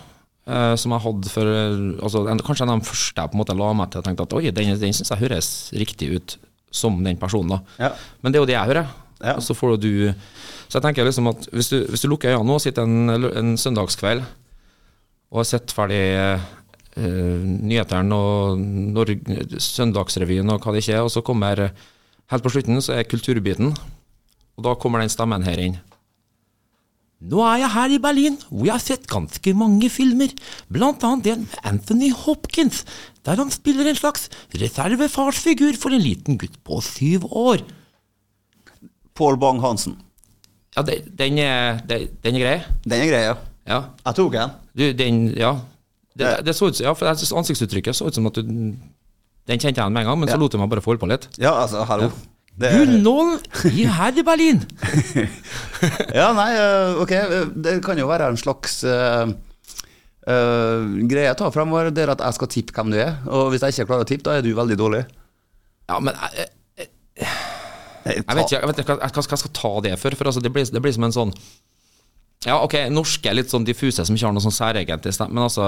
eh, som jeg hadde for eh, altså, en, Kanskje en av de første jeg på en måte la meg til og tenkte at oi, den, den syns jeg høres riktig ut som den personen. da Ja. Men det er jo det jeg hører. Ja. Og så får jo du Så jeg tenker liksom at hvis du, hvis du lukker øynene nå og sitter en, en søndagskveld og har sett ferdig eh, nyhetene og Norg- Søndagsrevyen og hva det ikke er, og så kommer Helt på slutten så er kulturbiten, og da kommer den stemmen her inn. Nå er jeg her i Berlin, hvor jeg har sett ganske mange filmer, blant annet en med Anthony Hopkins, der han spiller en slags reservefarsfigur for en liten gutt på syv år. Pål Bang-Hansen. Ja, det, den, er, det- den er grei. Den er grei, ja. Ja. Jeg tok den. Du, den, ja. Det, det så ut, som- ja, for jeg synes ansiktsuttrykket så ut som at du Den kjente jeg igjen med en gang, men så lot jeg meg bare få holde på litt. Ja, altså, hallo. Det, Gunnålen i her i Berlin! ja, nei, eh, ok. eh, Det kan jo være en slags eh, eh, greie jeg tar fremover, det er at jeg skal tippe hvem du er. Og hvis jeg ikke klarer å tippe, da er du veldig dårlig. Ja, men eh, jeg, Jeg, jeg vet ikke jeg vet ikke hva hva- hva jeg skal ta det for, for altså, det, blir, det blir som en sånn Ja, ok, norske er litt sånn diffuse, som ikke har noe sånn særegent i stemmen, men altså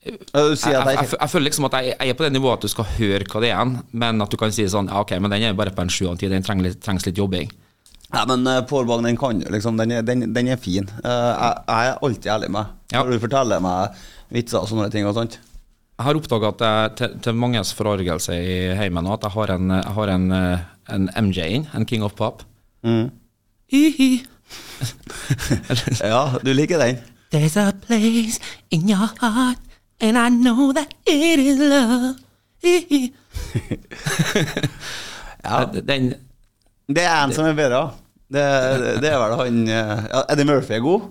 Eh, Du sier jeg, at jeg jeg, jeg føler liksom at jeg, jeg er på det nivået at du skal høre hva det er, men at du kan si sånn ja, Ok, men den er bare på en sju av ti, den trenger litt, trengs litt jobbing. Nei, men eh, Pål Bang, den kan jo liksom, den er, den, den er fin. Eh, jeg, jeg er alltid ærlig med deg. Ja. Når du forteller meg vitser og sånne ting og sånt. Jeg har oppdaga at jeg, til, til manges forargelse i heimen nå, at jeg har en, jeg har en, eh, en MJ-en, en King of Pop. Hi-hi. Ja, du liker den. There's a place in your heart, and I know that it is love. Den, Det er en som er bedre. ja. Det, det er vel han eh, ja, Eddie Murphy er god.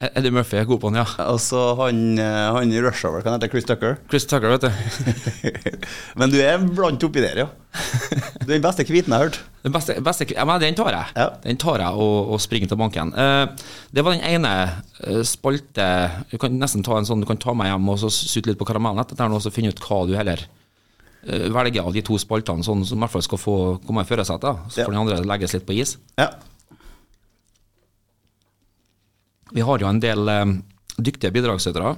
Eddie Murphy er god på den, ja. Og så han, eh, han i Rush Hour, kan hete Chris Tucker. Chris Tucker, vet du. Men du er blant oppi der, ja. Du er den beste kviten jeg har hørt. Den beste, beste ja, men den tar jeg. Ja. Den tar jeg og, og springer til banken. Eh, det var den ene eh, spalte Du kan nesten ta en sånn, du kan ta meg hjem og så sute litt på karamellen etter den, og så finne ut hva du heller eh, velger av de to spaltene, sånn som i hvert fall skal få komme i førersetet. Så Ja. får den andre legges litt på is. Ja. Vi har jo en del eh, dyktige bidragsytere.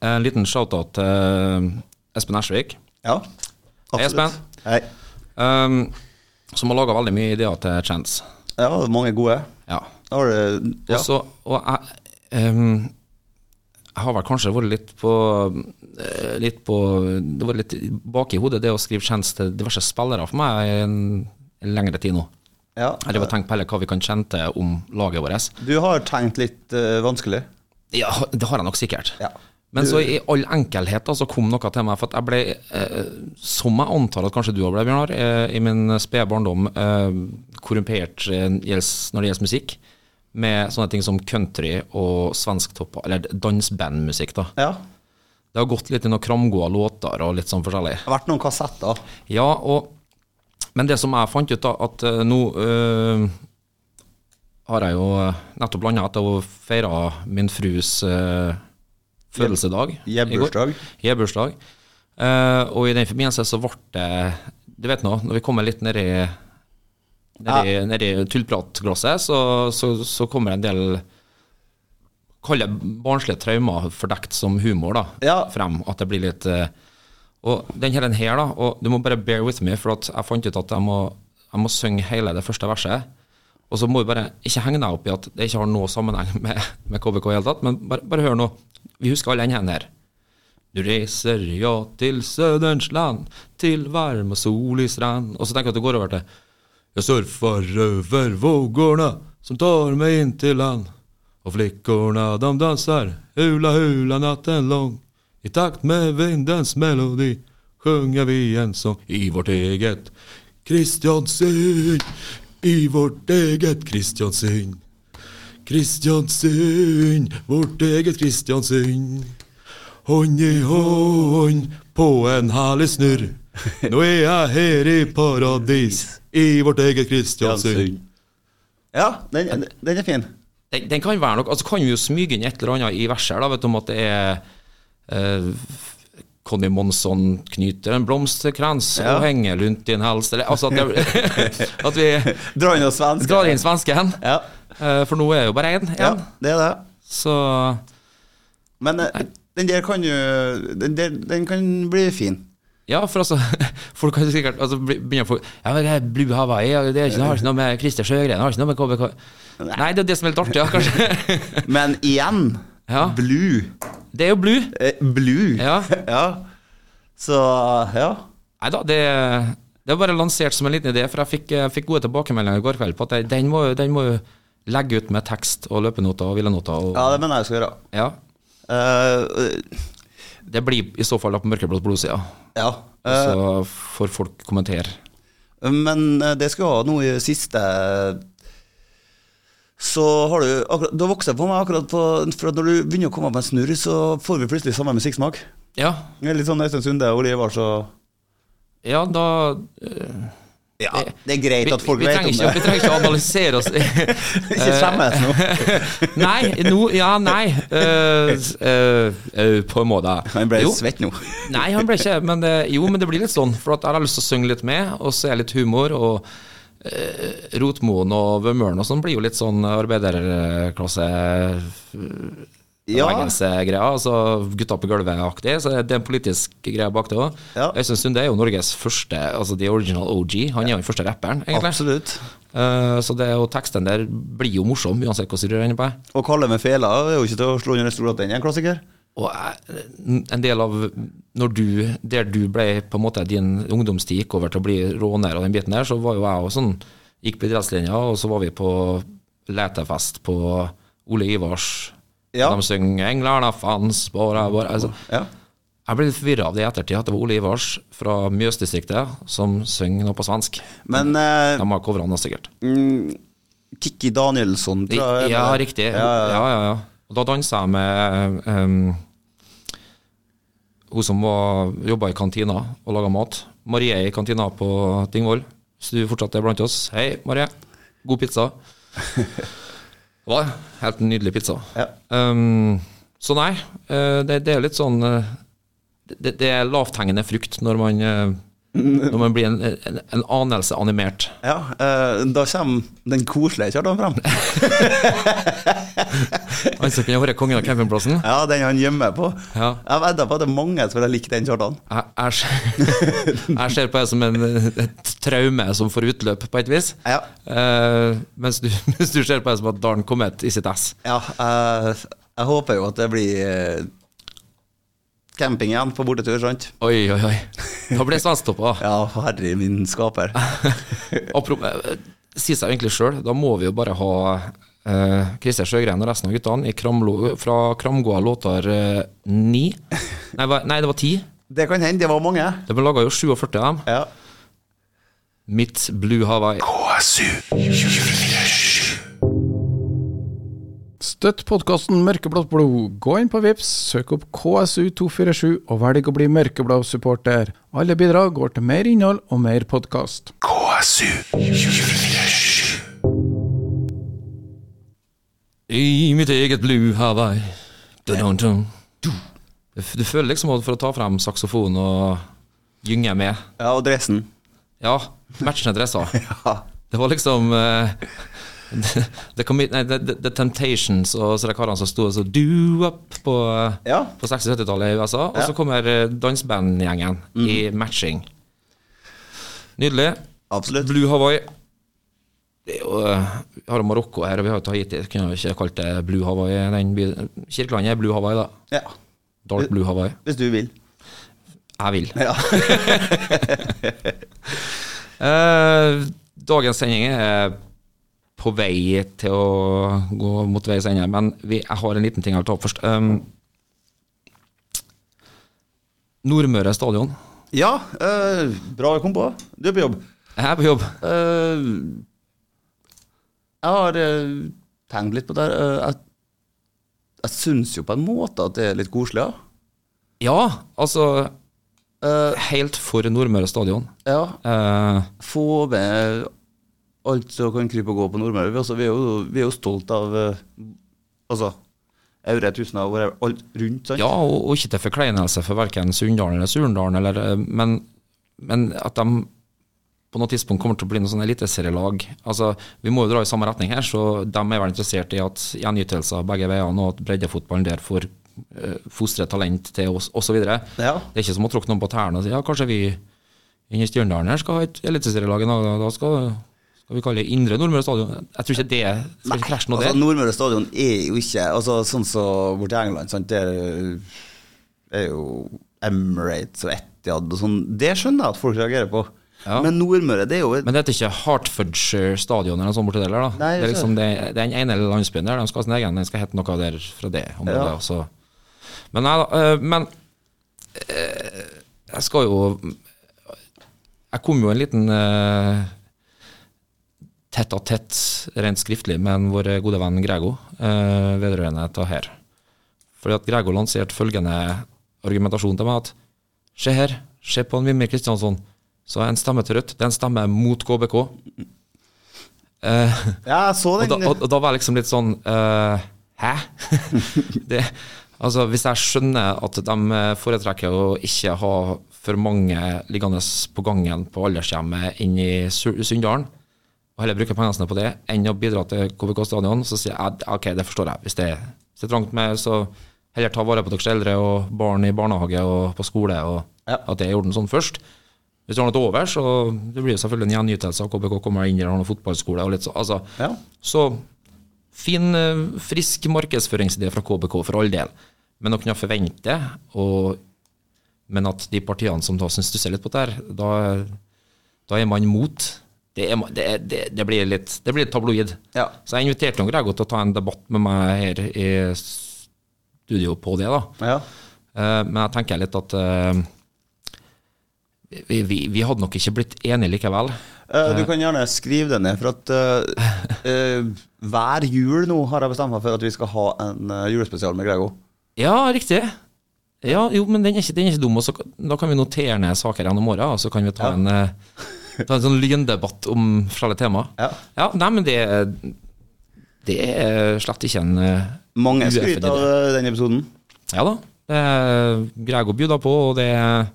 En liten shout-out til eh, Espen Ersvik, ja. Hei, Espen. Hei. ehm, som har laga veldig mye ideer til Chance. Ja, det er mange gode. Ja. Da har du Og ja. så- og jeg ehm, jeg har vel kanskje vært litt på eh, Litt på Det var litt bak i hodet, det å skrive Chance til diverse spillere for meg i en, en lengre tid nå. ja. Jeg driver og tenker på heller hva vi kan kjenne til om laget vårt. Du har tenkt litt eh, vanskelig. Ja, det har jeg nok sikkert. Ja. Men så i all enkelhet da, så kom noe til meg, for at jeg ble, eh, som jeg antar at kanskje du også ble, Bjørnar, eh, i min spede barndom, eh, korrumpert eh, gjelds- når det gjelder musikk, med sånne ting som country og svensktopp, eller dansbandmusikk da. Ja. Det har gått litt i noen kramgåa låter og litt sånn forskjellig. Det har vært noen kassetter. Ja, og, men det som jeg fant ut da, at eh, nå eh, har jeg jo eh, nettopp landa etter å feire min frus eh, fødelsedag. i går. Jebbursdag. Jebbursdag. Eh, og i den forbindelse så ble det Du vet nå, når vi kommer litt nedi Nedi, nedi tullpratglasset, så, så, så kommer det en del Kall det barnslige traumer fordekt som humor, da. Ja. Frem. At det blir litt eh, Og den her, den her, da. Og du må bare bear with me, for at jeg fant ut at jeg må, jeg må synge hele det første verset. Og så må du bare ikke henge deg opp i at det ikke har noe sammenheng med, med KBK i det hele tatt, men bare, bare hør nå. Vi husker alle den her. Nu reiser jag till Söderns land, till varm och solig strand. Och så tänker jag at det går over til Jeg surfar över vågorna som tar mig in till land. Och flickorna de dansar hula hula natten lång. I takt med vindens melodi sjunger vi en sång i vårt eget Kristiansund. I vårt eget Kristiansund. Kristiansund, vårt eget Kristiansund. Hånd i hånd på en herlig snurr. Nå er jeg her i paradis, i vårt eget Kristiansund. Ja, den, den er fin. Den, den kan være nok, altså kan vi jo smyge inn et eller annet i verset her, da, vet du, om at det er eh, Conny Monsson knyter en blomsterkrans og henger rundt din hals. Eller, altså at, det, at vi Dra inn noe svensk. drar inn svensken, Ja, eh, for nå er det jo bare én ja, igjen. det er det. Så Men eh, den der kan jo Den, der, den kan bli fin. ja, for altså Folk kan sikkert altså, bli- begynne å få Ja, men det er Blue Hawaii, ja, det, er ikke, det har ikke noe med Christer Sjøgren, det har ikke noe med KBK Nei, det er det som er litt artig, ja, kanskje. Men igjen, Ja. blue. Det er jo Blue. Eh, blue. Ja. ja. Så ja. Nei da, det, det var bare lansert som en liten idé, for jeg fikk, jeg fikk gode tilbakemeldinger i går kveld på at jeg- den må, jo- den må jo legge ut med tekst og løpenoter og hvilenoter. Og, ja, ja. det mener jeg jeg skal gjøre. Eh, det blir i så fall da på mørkeblått blodsida, ja. Eh, så får folk kommentere. men eh, det skal jeg ha nå i siste Så har du akkurat Du har vokst på meg akkurat på For at når du begynner å komme opp med en snurr, så får vi plutselig samme musikksmak. Ja, Det er Litt sånn Øystein Sunde og Liv var så ja da eh, Ja, det er greit vi, at folk vi, vi, vet trenger om ikke, vi det. trenger ikke å analysere oss. Ikke skjemmes nå. nei, nå Ja, nei. eh, eh, eh, på en måte. Han ble Jo. svett nå. Nei, han ble ikke men det, Jo, men det blir litt sånn, for at jeg har lyst til å synge litt med, og så er litt humor, og eh, Rotmoen og Vømøren og sånn blir jo litt sånn arbeiderklasse-greier. Ja, Altså gutta på gulvet-aktig, så det er en politisk greie bak det òg. Ja. Øystein Sunde er jo Norges første, altså the original OG. Han er jo den første rapperen, egentlig. absolutt. Eh, så det er jo teksten der blir jo morsom, uansett hvordan du gjør den på. Og Kalle med fela er jo ikke til å slå under en stol at den er en klassiker. Og jeg- en del av når du, Der du ble på en måte din ungdomstid gikk over til å bli råner og den biten der, så var jo jeg også sånn Gikk på idrettslinja, og så var vi på letefest på Ole Ivars. Ja. De synger 'Englarna fanns bara, bara altså, Ja. Jeg ble litt forvirra av det i ettertid, at det var Ole Ivars fra Mjøsdistriktet som synger noe på svensk. Men eh, De har covra noe, sikkert. Mm, Kikki Danielsson, tror jeg. Ja, riktig. Ja, ja, ja. Og da dansa jeg med ehm, hun som var- jobba i kantina og laga mat. Marie i kantina på Tingvoll. Hvis du fortsatt er blant oss. Hei, Marie. God pizza. Det var det. helt nydelig pizza. Ja. Ehm, så nei, eh, det, det er litt sånn eh, det, det er lavthengende frukt når man, eh, når man blir en, en, en anelse animert. Ja, eh, da kommer den koselige Kjartan frem. Han som kunne vært kongen av campingplassen. Ja, den han gjemmer på. Ja. Jeg vedder på at det er mange som ville likt den Kjartan. Jeg, jeg, ser- jeg ser på det som en, et traume som får utløp, på et vis. Ja. Eh, mens, du, mens du ser på det som at Dalen kom et i sitt ess. Ja, eh, jeg håper jo at det blir eh, camping igjen på bortetur, sant? Oi, oi, oi. Da ble jeg svensketoppa. Ja, herre min skaper. Apropos, eh, sier seg jo egentlig sjøl, da må vi jo bare ha eh, Christer Sjøgren og resten av guttene i Kramlo, fra Kramgåa låter eh, ni. Nei, hva- nei, det var ti. Det kan hende, det var mange. Det ble laga jo 47 av dem. Ja. Mitt Blue Hawaii. Støtt podkasten Mørkeblått blod. Gå inn på Vips, søk opp KSU247 og velg å bli mørkeblå supporter. Alle bidrag går til mer innhold og mer podkast. I mitt eget blue Hawaii. Dun, dun, dun. Du. Du føler liksom at for å ta frem saksofon og gynge med ja, og dressen. Ja, matchende dresser. Ja. Det var liksom eh, The, commi- nei, the, the, the Temptations og så de karene som sto og så do up på, Ja. på 60-70-tallet i USA. Og så kommer eh, dansebandgjengen Mm. i matching. Nydelig. Absolutt. Blue Hawaii det er jo, eh, Vi har jo Marokko her, og vi har jo Tahiti. Kunne jo ikke kalt det Blue Hawaii. Den by- Kirkelandet er Blue Hawaii, da. Ja. Dark Blue Hawaii. Hvis du vil. Jeg vil. Ja. Eh, dagens sending er på vei til å gå mot veis ende, men vi, jeg har en liten ting jeg vil ta opp først. Um, Nordmøre stadion. ja eh, bra jeg kom på. Du er på jobb. Jeg er på jobb. Eh, jeg har eh, tenkt litt på det her. Eh, jeg jeg syns jo på en måte at det er litt koselig, ja. Eh, Ja, altså Helt for Nordmøre stadion. ja. Eh, Få med alt som kan krype og gå på Nordmøre. Vi, altså, vi, er jo- vi er jo stolt av eh, altså, Aure, Tustna og whatever, alt rundt, sant? ja, og, og ikke til forkleinelse for verken Sunndalen eller Surndalen, eller, eh, men, men at de på noe tidspunkt kommer til å bli noe sånn eliteserielag. Altså, vi må jo dra i samme retning her, så de er vel interessert i at gjenytelser begge veiene, og at breddefotballen der får eh, fostre talent til oss, osv. Ja. Det er ikke som å tråkke noen på tærne og si ja, kanskje vi inne i Stjørndalen her skal ha et eliteserielag en dag, da- da skal, skal vi kalle det Indre Nordmøre Stadion. Jeg tror ikke det skal ikke krasje noe altså, der. Nordmøre stadion er jo ikke altså, sånn som borti England. Sant? Der eh, er jo Emirates og Etiad og sånn. Det skjønner jeg at folk reagerer på. Ja. Men Nordmøre, det er jo et Men det heter ikke Hertfordshire Stadion eller noe sånt borti der, da. Nei, altså- det er ikke liksom det, den ene lille landsbyen der, de skal ha sin egen, den skal hete noe der fra det området. Ja. og så- Men nei da. eh, Men eh, jeg skal jo Jeg kom jo en liten eh, tett av tett, rent skriftlig, med en vår gode venn Grego eh, vedrørende dette her. Fordi at Grego lanserte følgende argumentasjon til meg at Se her, se på en Mimmi Kristiansson. Så en stemme til Rødt, det er en stemme mot KBK. Eh, Ja, jeg så og, da, den. og, og da var jeg liksom litt sånn eh, Hæ? det, altså, hvis jeg skjønner at de foretrekker å ikke ha for mange liggende på gangen på aldershjemmet inn i Sur- Sunndalen, og heller bruke pengene sine på det enn å bidra til KBK Stadion, så sier jeg ok, det forstår jeg. Hvis det er- hvis det er trangt med, så heller ta vare på deres eldre og barn i barnehage og på skole, og Ja. at det er i orden sånn først. Hvis du har noe til overs, så det blir jo selvfølgelig en gjenytelse av KBK kommer inn der og har noen fotballskole og litt så, altså, Ja. så fin, eh, frisk markedsføringsidé fra KBK for all del. Men å kunne forvente, og, men at de partiene som da syns du ser litt på det her, da, da er man mot. Det, er, ma- det, er- det, det, blir litt, det blir litt tabloid. Ja. Så jeg inviterte noen Grego til å ta en debatt med meg her i studio på det. da. Ja. Eh, Men jeg tenker litt at eh, vi, vi, vi hadde nok ikke blitt enige likevel. Eh, du kan gjerne skrive det ned, for at eh, eh, hver jul nå har jeg bestemt meg for at vi skal ha en eh, julespesial med Grego. Ja, riktig. Ja, jo, men den er ikke, den er ikke dum. Og så, kan- da kan vi notere ned saker gjennom åra, og så kan vi ta, en, eh, ta en sånn lyndebatt om forskjellige temaer. Ja. nei, men det, er- det er slett ikke en eh, Mange UF skryter av eh, den episoden. Ja da. Det er Grego bjuda på, og det er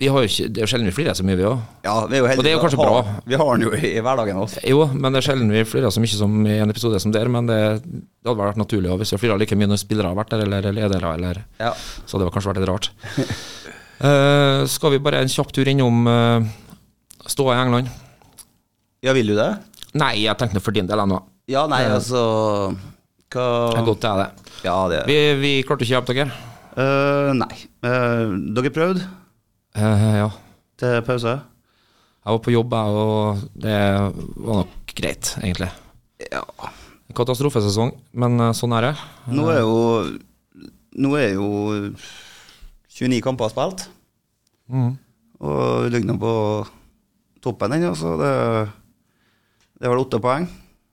vi har jo ikke, Det er jo sjelden vi flirer så mye, vi òg. Ja, vi er jo heldige. Og det er jo kanskje Vi har- bra. Vi har den jo i, i hverdagen også. Jo, men det er sjelden vi flirer så mye som i en episode som der, men det, det hadde vært naturlig også hvis vi flirer like mye når spillere har vært der, eller ledere, eller Ja. Så hadde det kanskje vært litt rart. Eh, skal vi bare en kjapp tur innom uh, ståa i England? ja, vil du det? Nei, jeg tenkte for din del ennå. Ja, nei, altså Hva Jeg går til Eh. det. Ja, det Vi, vi klarte ikke å hjelpe dere. Eh, Nei. Eh, dere prøvde Eh, ja. til pause? Jeg var på jobb, jeg, og det var nok greit, egentlig. Ja. Katastrofesesong, men eh, sånn er det. Nå er jo Nå er jo 29 kamper spilt, og vi ligger nå på toppen ennå, så det, det er vel åtte poeng.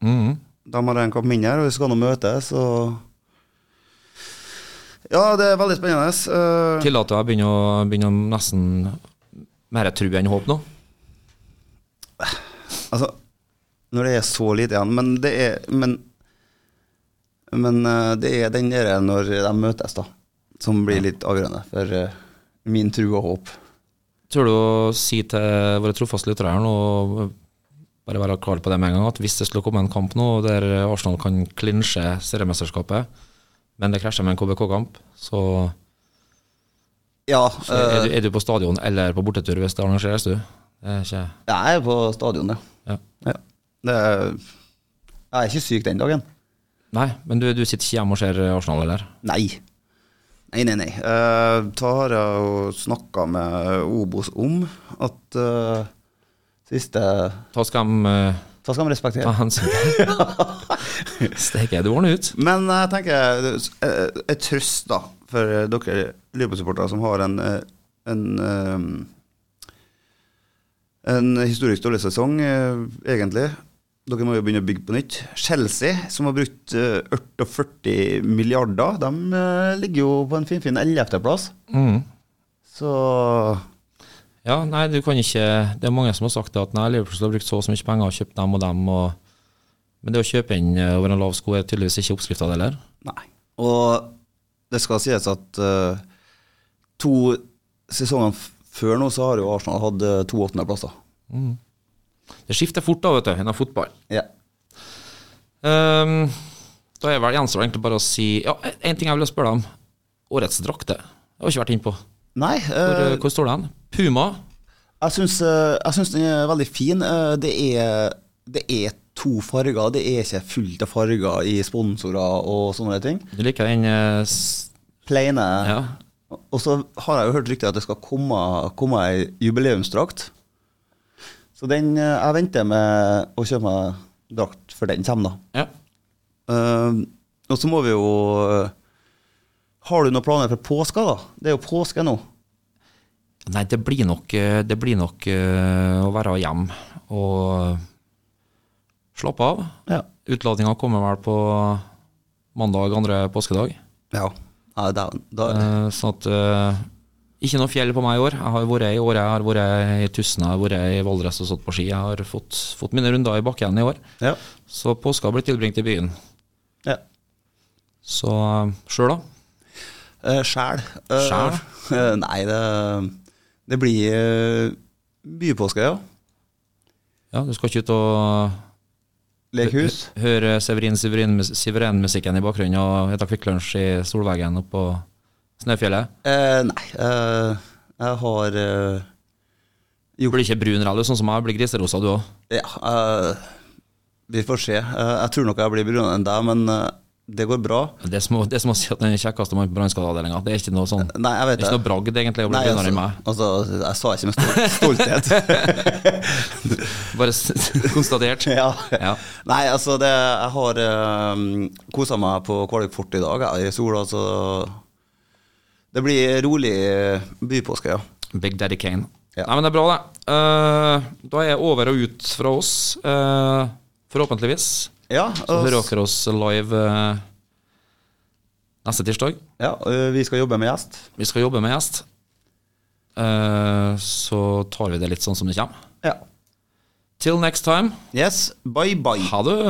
Mhm. De har en kamp mindre, og vi skal nå møtes, og Ja, det er veldig spennende. Eh, Tillater jeg begynner å begynner å nesten mer tru enn håp nå? Altså, når det er så lite igjen Men det er Men, men eh, det er den der når de møtes, da, som blir litt avgjørende for eh, min tro og håp. Tør du å si til våre trofaste lyttere her nå, og bare være klar på det med en gang, at hvis det skulle komme en kamp nå der Arsenal kan klinsje seriemesterskapet, men det krasjer med en KBK-kamp, så, Ja, så er, du, eh, er du på stadion eller på bortetur hvis det arrangeres, du? Det er ikke jeg er på stadion, ja. ja. ja. Det er, jeg er ikke syk den dagen. Nei, men du, du sitter ikke hjemme og ser Arsenal, eller? Nei. Nei, nei, nei. Eh, Da har jeg jo snakka med Obos om at eh, siste Da Da skal de eh, skal man respektere. ta hensyn. Steike, det ordner ut. Men jeg tenker eh, et trøst da for eh, dere Liverpool-supportere som har en, eh, en eh, En historisk dårlig sesong, eh, egentlig. Dere må jo begynne å bygge på nytt. Chelsea, som har brukt eh, 48 milliarder, de eh, ligger jo på en finfin 11.-plass. Mm. Så Ja, nei, du kan ikke Det er mange som har sagt det at nei, Liverpool har brukt så og så mye penger og kjøpt dem og dem. Og, men det å kjøpe inn eh, over en lav sko er tydeligvis ikke oppskrifta, det heller. Nei. Og det skal sies at eh, to sesonger f- før nå så har jo Arsenal hatt eh, to åttendeplasser. Det skifter fort da, vet du, innen fotball. Ja. Ehm, da er vel gjenstår det egentlig bare å si Ja, én ting jeg ville spørre deg om. Årets drakte. Jeg har ikke vært innpå. Nei. Hvor, eh, hvor står den? Puma. Jeg syns, eh, jeg syns den er veldig fin. Eh, Det er, det er to farger. Det er ikke fullt av farger i sponsorer og sånne ting. Du liker den eh, s- Plaine. Ja. Og så har jeg jo hørt rykter at det skal komme, komme ei jubileumsdrakt. Så den eh, Jeg venter med å kjøpe meg drakt før den kommer, da. ja. Eh, og så må vi jo eh, Har du noen planer for påska, da? Det er jo påske nå. Nei, det blir nok, eh, det blir nok eh, å være hjemme og slappe av. Ja. Utladninga kommer vel på mandag andre påskedag. Ja. da, da, Eh, Sånn at eh, Ikke noe fjell på meg i år. Jeg har vært i Åre, jeg har vært i Tusen, jeg har vært i Valdres og stått på ski. Jeg har fått, fått mine runder i bakken i år. ja. Så påska blir tilbringt i byen. ja. Så eh, sjøl, da? Uh, Sjæl. Eh, Sjæl? eh, nei, det, det blir eh, bypåske, ja. Ja, du skal ikke ut og Lekhus. hø- høre Severin Severin- Siveren-musikken i bakgrunnen og spise Kvikk Lunsj i solveggen oppå Snøfjellet? Eh, nei, eh, jeg har eh, Du blir ikke brun eller sånn som meg, blir griserosa du òg. Ja, eh, vi får se. Eh, jeg tror nok jeg blir brunere enn deg, men eh, det går bra. Det er som å det er som å si at den kjekkeste mannen på brannskadeavdelinga. Det er ikke noe sånn Nei, jeg Det vet er ikke noe bragd, egentlig, å bli Nei, brunere altså, enn meg. altså, jeg sa ikke med stol- stolthet. Bare s- konstatert. ja. Ja. Nei, altså, det, jeg har uh, kosa meg på Kvaløy fort i dag, jeg, i sola, så det blir rolig eh, bypåske, ja. Big Daddy Kane. Ja. Nei, men det er bra, det. Eh, da er jeg over og ut fra oss, eh, forhåpentligvis. Ja, Så og, hører dere oss live eh, neste tirsdag. ja, ø, vi skal jobbe med gjest. Vi skal jobbe med gjest. Eh, så tar vi det litt sånn som det kommer. Ja. Till next time. Yes, bye bye. Ha det.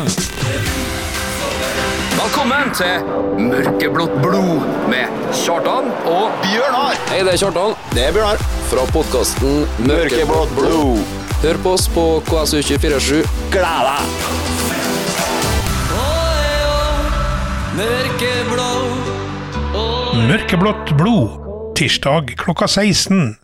Velkommen til Mørkeblått blod med Kjartan og Bjørnar! Hei, det er Kjartan Det er Bjørnar. fra podkasten Mørkeblått blod. Hør på oss på KSU247. Gled deg! Mørkeblått blod. Tirsdag klokka 16.